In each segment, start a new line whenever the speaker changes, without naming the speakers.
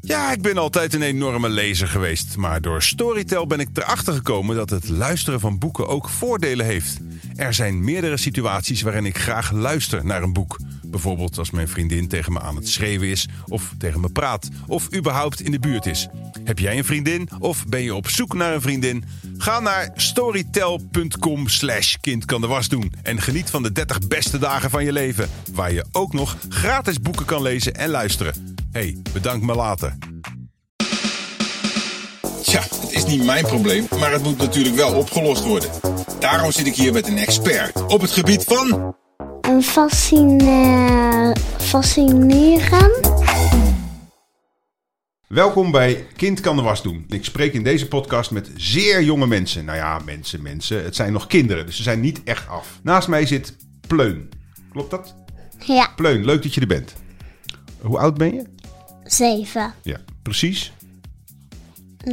Ja, ik ben altijd een enorme lezer geweest. Maar door Storytel ben ik erachter gekomen dat het luisteren van boeken ook voordelen heeft. Er zijn meerdere situaties waarin ik graag luister naar een boek. Bijvoorbeeld als mijn vriendin tegen me aan het schreeuwen is, of tegen me praat, of überhaupt in de buurt is. Heb jij een vriendin of ben je op zoek naar een vriendin? Ga naar storytel.com slash kind kan de was doen en geniet van de 30 beste dagen van je leven. Waar je ook nog gratis boeken kan lezen en luisteren. hey, bedankt me later.
Tja, het is niet mijn probleem, maar het moet natuurlijk wel opgelost worden. Daarom zit ik hier met een expert op het gebied van.
Een fascine- fascinerend.
Welkom bij Kind kan de was doen. Ik spreek in deze podcast met zeer jonge mensen. Nou ja, mensen, mensen. Het zijn nog kinderen, dus ze zijn niet echt af. Naast mij zit Pleun. Klopt dat?
Ja,
Pleun, leuk dat je er bent. Hoe oud ben je?
zeven.
Ja, precies.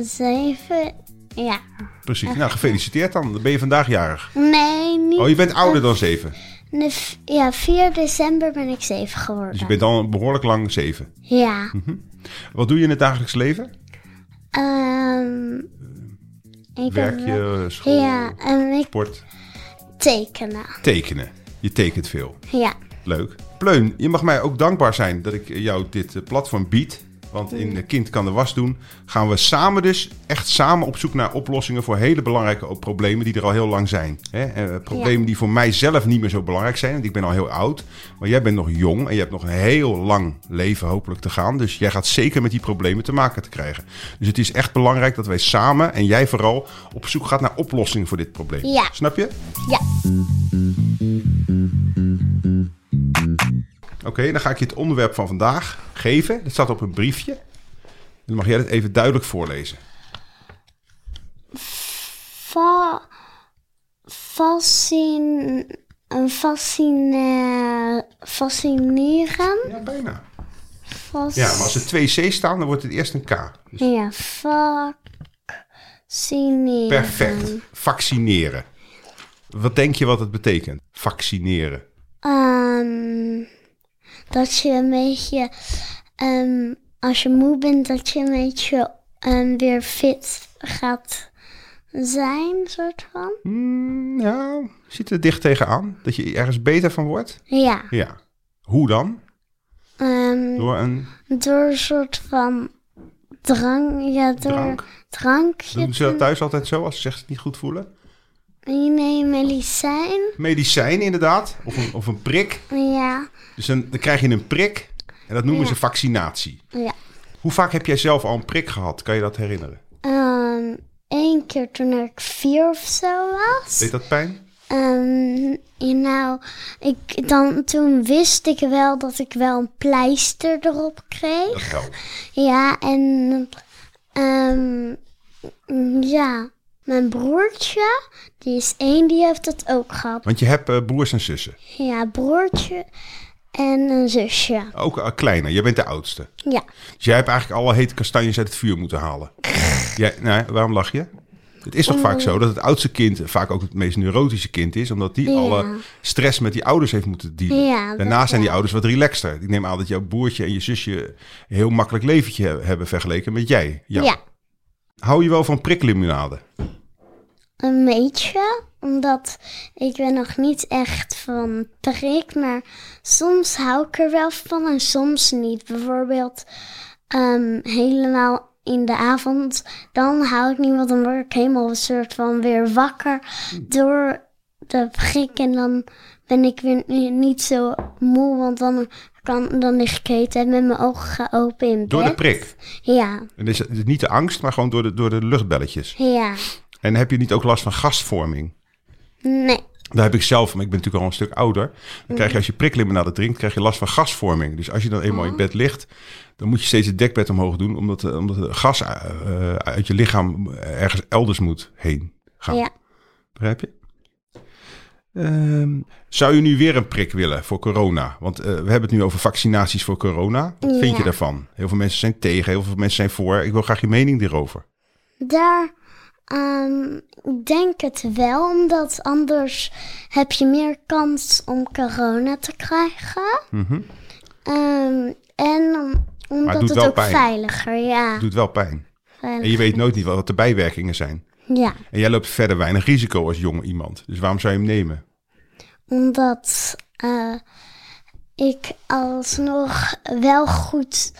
Zeven, ja.
Precies. Nou, gefeliciteerd dan. Dan ben je vandaag jarig.
Nee, niet.
Oh, je bent ouder dan zeven.
De v- ja, 4 december ben ik zeven geworden.
Dus je bent Mhm. al behoorlijk lang zeven.
Ja.
Wat doe je in het dagelijks leven?
Ehm ik
Werk
ben-
je, school,
Ja, en ik
sport?
tekenen.
Tekenen. Je tekent veel.
Ja.
Leuk. Pleun, je mag mij ook dankbaar zijn dat ik jou dit eh, platform bied. Want in eh, Kind kan de was doen gaan we samen dus echt samen op zoek naar oplossingen voor hele belangrijke o- problemen die er al heel lang zijn. Hè? Eh, problemen die voor mij zelf niet meer zo belangrijk zijn, want ik ben al heel oud. Maar jij bent nog jong en je hebt nog een heel lang leven hopelijk te gaan. Dus jij gaat zeker met die problemen te maken te krijgen. Dus het is echt belangrijk dat wij samen en jij vooral op zoek gaat naar oplossingen voor dit probleem.
Ja.
Snap je?
Ja.
Oké, dan ga ik je het onderwerp van vandaag geven. Dat staat op een briefje. Dan mag jij dat even duidelijk voorlezen.
Va fascin een fascine fascinerend.
Ja, bijna.
Fas
Ja, maar als er twee C staan, dan wordt het eerst een K.
Ja, fascinerend.
Perfect. Vaccineren. Wat denk je wat het betekent? Vaccineren.
Ehm, dat je een beetje, ehm, als je moe bent, dat je een beetje ehm, weer fit gaat zijn, soort van.
Hmm, ja, zit er dicht tegenaan. Dat je ergens beter van wordt?
Ja.
Ja. Hoe dan?
ehm,
Door een
door een soort van drang, ja, door
Drank?
drankje.
Doen ze dat thuis altijd zo als ze zich niet goed voelen?
Nee, medicijn.
Medicijn inderdaad. Of een, of een prik.
Ja,
Dus dan, dan krijg je een prik. En dat noemen ze vaccinatie.
ja.
Hoe vaak heb jij zelf al een prik gehad? Kan je dat herinneren?
Ehm Eén keer toen ik vier of zo was.
Deed dat pijn?
Ehm, ja, nou, ik, dan, toen wist ik wel dat ik wel een pleister erop
Dat
kreeg.
helpt.
Ja, en ehm, ja, mijn broertje, die is één, die heeft dat ook gehad.
Want je hebt eh, broers en zussen.
Ja, broertje en een zusje.
Ook eh, kleiner. Jij bent de oudste.
Ja,
Dus jij hebt eigenlijk alle hete kastanjes uit het vuur moeten halen. Jij, nee, waarom lach je? Het is toch vaak zo dat het oudste kind vaak ook het meest neurotische kind is, omdat die
Ja.
alle stress met die ouders heeft moeten dealen.
Ja, dat
Daarna zijn die
wel.
ouders wat relaxter. Ik neem aan dat jouw broertje en je zusje een heel makkelijk leventje he- hebben vergeleken met jij.
ja.
jou. Hou je wel van priklimonade?
een beetje. Omdat ik ben nog niet echt van prik, maar soms hou ik er wel van en soms niet. Bijvoorbeeld ehm, helemaal in de avond, dan hou ik niet, want dan word ik helemaal een soort van weer wakker door de prik. En dan ben ik weer ni- niet zo moe, want dan, kan, dan lig ik de hele tijd met mijn ogen open in bed.
Door de prik.
Ja,
En is het niet de angst, maar gewoon door de, door de luchtbelletjes.
ja,
En heb je niet ook last van gastvorming?
nee.
Daar heb ik zelf, maar ik ben natuurlijk al een stuk ouder. Dan krijg je als je priklimonade drinkt, krijg je last van gasvorming. Dus als je dan eenmaal in bed ligt, dan moet je steeds het dekbed omhoog doen, omdat, eh, omdat het gas eh, eh, uit je lichaam ergens elders moet heen gaan.
Ja.
Begrijp je? Ehm, zou je nu weer een prik willen voor corona? Want eh, we hebben het nu over vaccinaties voor corona. Wat vind je
Ja.
daarvan? Heel veel mensen zijn tegen, heel veel mensen zijn voor. Ik wil graag je mening erover.
Daar, ehm, ik denk het wel, omdat anders heb je meer kans om corona te krijgen. Ehm, en om- Omdat
Mhm. doet
het
wel
ook
pijn.
veiliger, ja.
doet wel pijn. En je
Veiliger.
weet nooit niet wat de bijwerkingen zijn.
Ja,
En jij loopt verder weinig risico als jong iemand. Dus waarom zou je hem nemen?
omdat eh, ik alsnog wel goed,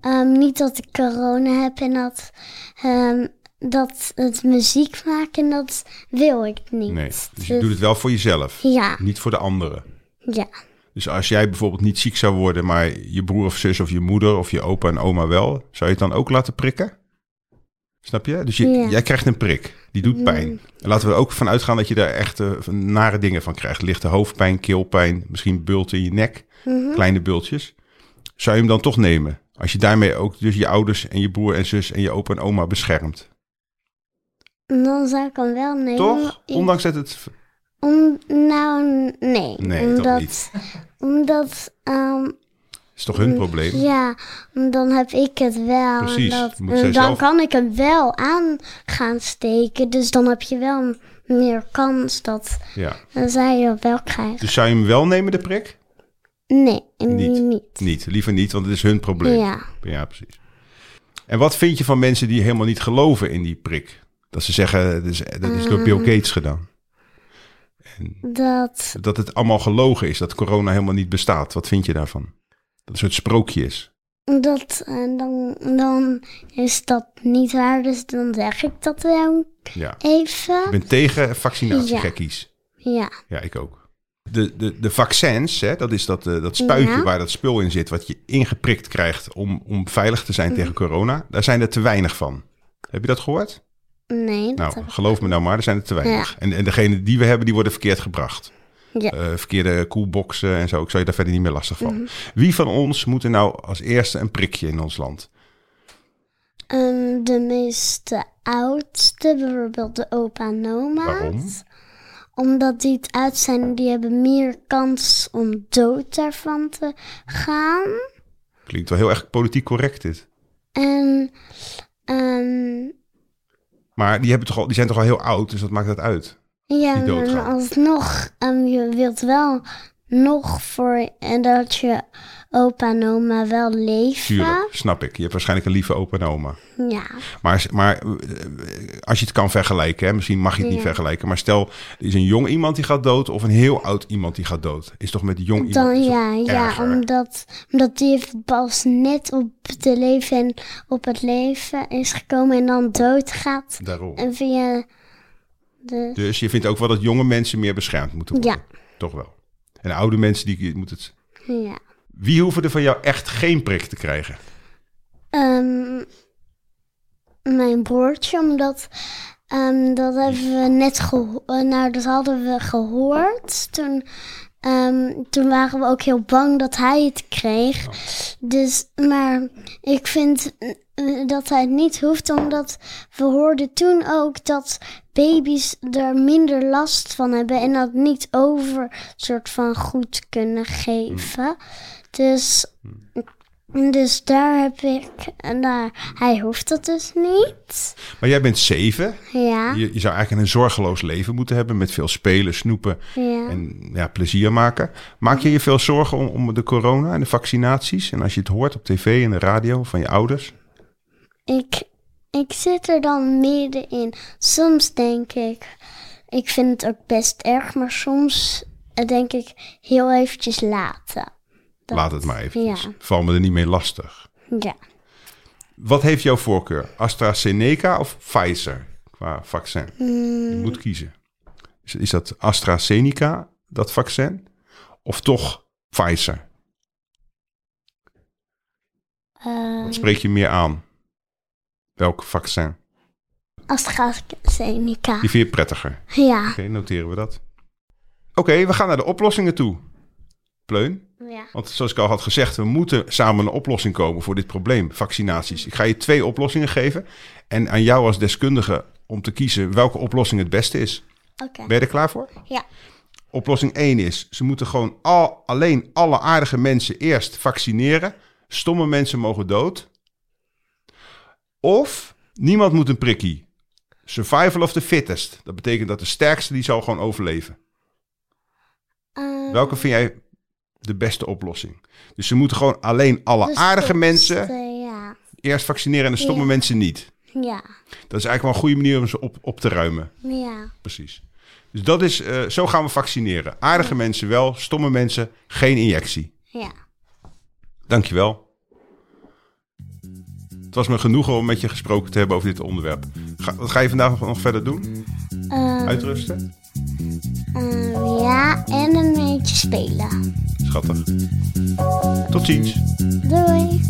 ehm, niet dat ik corona heb en dat, ehm, dat het muziek maken, dat wil ik niet.
Nee. Dus je doet het wel voor jezelf,
Ja,
niet voor de anderen.
ja,
Dus als jij bijvoorbeeld niet ziek zou worden, maar je broer of zus of je moeder of je opa en oma wel, zou je het dan ook laten prikken? Snap je? Dus je,
Ja.
jij krijgt een prik. Die doet pijn. En laten we er ook van uitgaan dat je daar echt eh, van nare dingen van krijgt. Lichte hoofdpijn, keelpijn, misschien bulten in je nek.
Mhm.
Kleine bultjes. Zou je hem dan toch nemen? Als je daarmee ook dus je ouders en je broer en zus en je opa en oma beschermt.
En dan zou ik hem wel nemen.
Toch?
Ik-
Ondanks dat het...
Om, nou, n- nee.
Nee, toch
omdat,
niet.
Omdat, ehm,
is toch hun probleem?
ja, dan heb ik het wel. en
Precies,
dat-
moet
en
zij
dan
zelf-
kan ik hem wel aan gaan steken. Dus dan heb je wel meer kans dat
Ja.
zij dat wel krijgt.
Dus zou je hem wel nemen, de prik?
Nee, en
Niet.
niet.
Niet, liever niet, want het is hun probleem.
Ja.
Ja, precies. En wat vind je van mensen die helemaal niet geloven in die prik? Dat ze zeggen, dat is, dat is door Bill
Mm.
Gates gedaan.
Dat,
Dat het allemaal gelogen is, dat corona helemaal niet bestaat. Wat vind je daarvan? Dat het een soort sprookje is.
dat eh, dan, dan is dat niet waar. Dus dan zeg ik dat wel
Ja. Ik
even.
ben tegen vaccinatiegekkies.
Ja,
Ja, ik ook. De, de, de vaccins, hè, dat is dat, eh, dat spuitje
Ja.
waar dat spul in zit, wat je ingeprikt krijgt om, om veilig te zijn
Mm.
tegen corona. Daar zijn er te weinig van. Heb je dat gehoord?
nee. Dat
Nou,
heb ik-
geloof me nou maar, er zijn er te weinig.
Ja.
En, en degene die we hebben, die worden verkeerd gebracht.
Ja.
Eh, verkeerde koelboxen en zo. Ik zou je daar verder niet meer lastig van.
Mhm.
Wie van ons moet er nou als eerste een prikje in ons land?
Ehm, de meeste oudste, bijvoorbeeld de opa en oma's.
Waarom?
Omdat die het uit zijn, die hebben meer kans om dood daarvan te gaan.
Klinkt wel heel erg politiek correct dit.
En ehm,
Maar die, hebben toch al, die zijn toch al heel oud, dus dat maakt dat uit. Die
ja,
doodgaan.
maar alsnog, ehm, je wilt wel nog voor en dat je opa en oma wel leven.
Tuurlijk, snap ik. Je hebt waarschijnlijk een lieve opa en oma.
Ja,
Maar, maar eh, als je het kan vergelijken, hè, misschien mag je het niet vergelijken. Maar stel, er is een jong iemand die gaat dood of een heel oud iemand die gaat dood. Is toch met die jong iemand
dan
is toch
ja, ja
erger?
omdat, omdat die heeft pas net op, de leven en op het leven is gekomen en dan doodgaat.
Daarom.
En via de.
Dus je vindt ook wel dat jonge mensen meer beschermd moeten worden.
Ja.
Toch wel. En oude mensen, die moeten het...
Ja.
Wie hoeven er van jou echt geen prik te krijgen?
Ehm, mijn broertje, omdat ehm, dat hebben we net geho- eh, Nou, dat hadden we gehoord. Toen, ehm, toen waren we ook heel bang dat hij het kreeg. Dus, maar ik vind eh, dat hij het niet hoeft, omdat we hoorden toen ook dat baby's er minder last van hebben en dat niet over soort van goed kunnen geven. Dus dus daar heb ik. En daar, hij hoeft dat dus niet.
Maar jij bent zeven.
Ja.
Je, je zou eigenlijk een zorgeloos leven moeten hebben met veel spelen, snoepen
Ja.
en ja, plezier maken. Maak je je veel zorgen om, om de corona en de vaccinaties? En als je het hoort op tv en de radio van je ouders?
Ik, ik zit er dan middenin. Soms denk ik. Ik vind het ook best erg, maar soms eh, denk ik heel eventjes laten. Dat-
Laat het maar even.
ja.
Val me er niet mee lastig.
Ja.
Wat heeft jouw voorkeur? AstraZeneca of Pfizer qua vaccin?
Mm,
Je moet kiezen. Is, is dat AstraZeneca, dat vaccin? Of toch Pfizer?
Eh
Wat spreek je meer aan? Welk vaccin?
AstraZeneca.
Die vind je prettiger. Oké,
Ja.
noteren we dat. Oké, we gaan naar de oplossingen toe. Pleun?
Ja.
Want zoals ik al had gezegd, we moeten samen een oplossing komen voor dit probleem, vaccinaties. Ik ga je twee oplossingen geven en aan jou als deskundige om te kiezen welke oplossing het beste is.
Oké.
Ben je er klaar voor?
Ja.
Oplossing 1 is, ze moeten gewoon al, alleen alle aardige mensen eerst vaccineren. Stomme mensen mogen dood. Of niemand moet een prikkie. Survival of the fittest. Dat betekent dat de sterkste die zal gewoon overleven.
Eh,
Welke vind jij de beste oplossing. Dus ze moeten gewoon alleen alle
Dus
aardige
dat is
mensen
de- ja.
eerst vaccineren en de stomme
Ja.
mensen niet.
Ja.
Dat is eigenlijk wel een goede manier om ze op, op te ruimen.
Ja.
Precies. Dus dat is, eh, zo gaan we vaccineren. Aardige mensen wel, stomme mensen geen injectie.
Ja.
Dankjewel. Het was me genoegen om met je gesproken te hebben over dit onderwerp. Ga, wat ga je vandaag nog, nog verder doen?
Ehm,
Uitrusten?
ehm, ja, en een beetje spelen.
Schattig. Tot ziens.
Doei.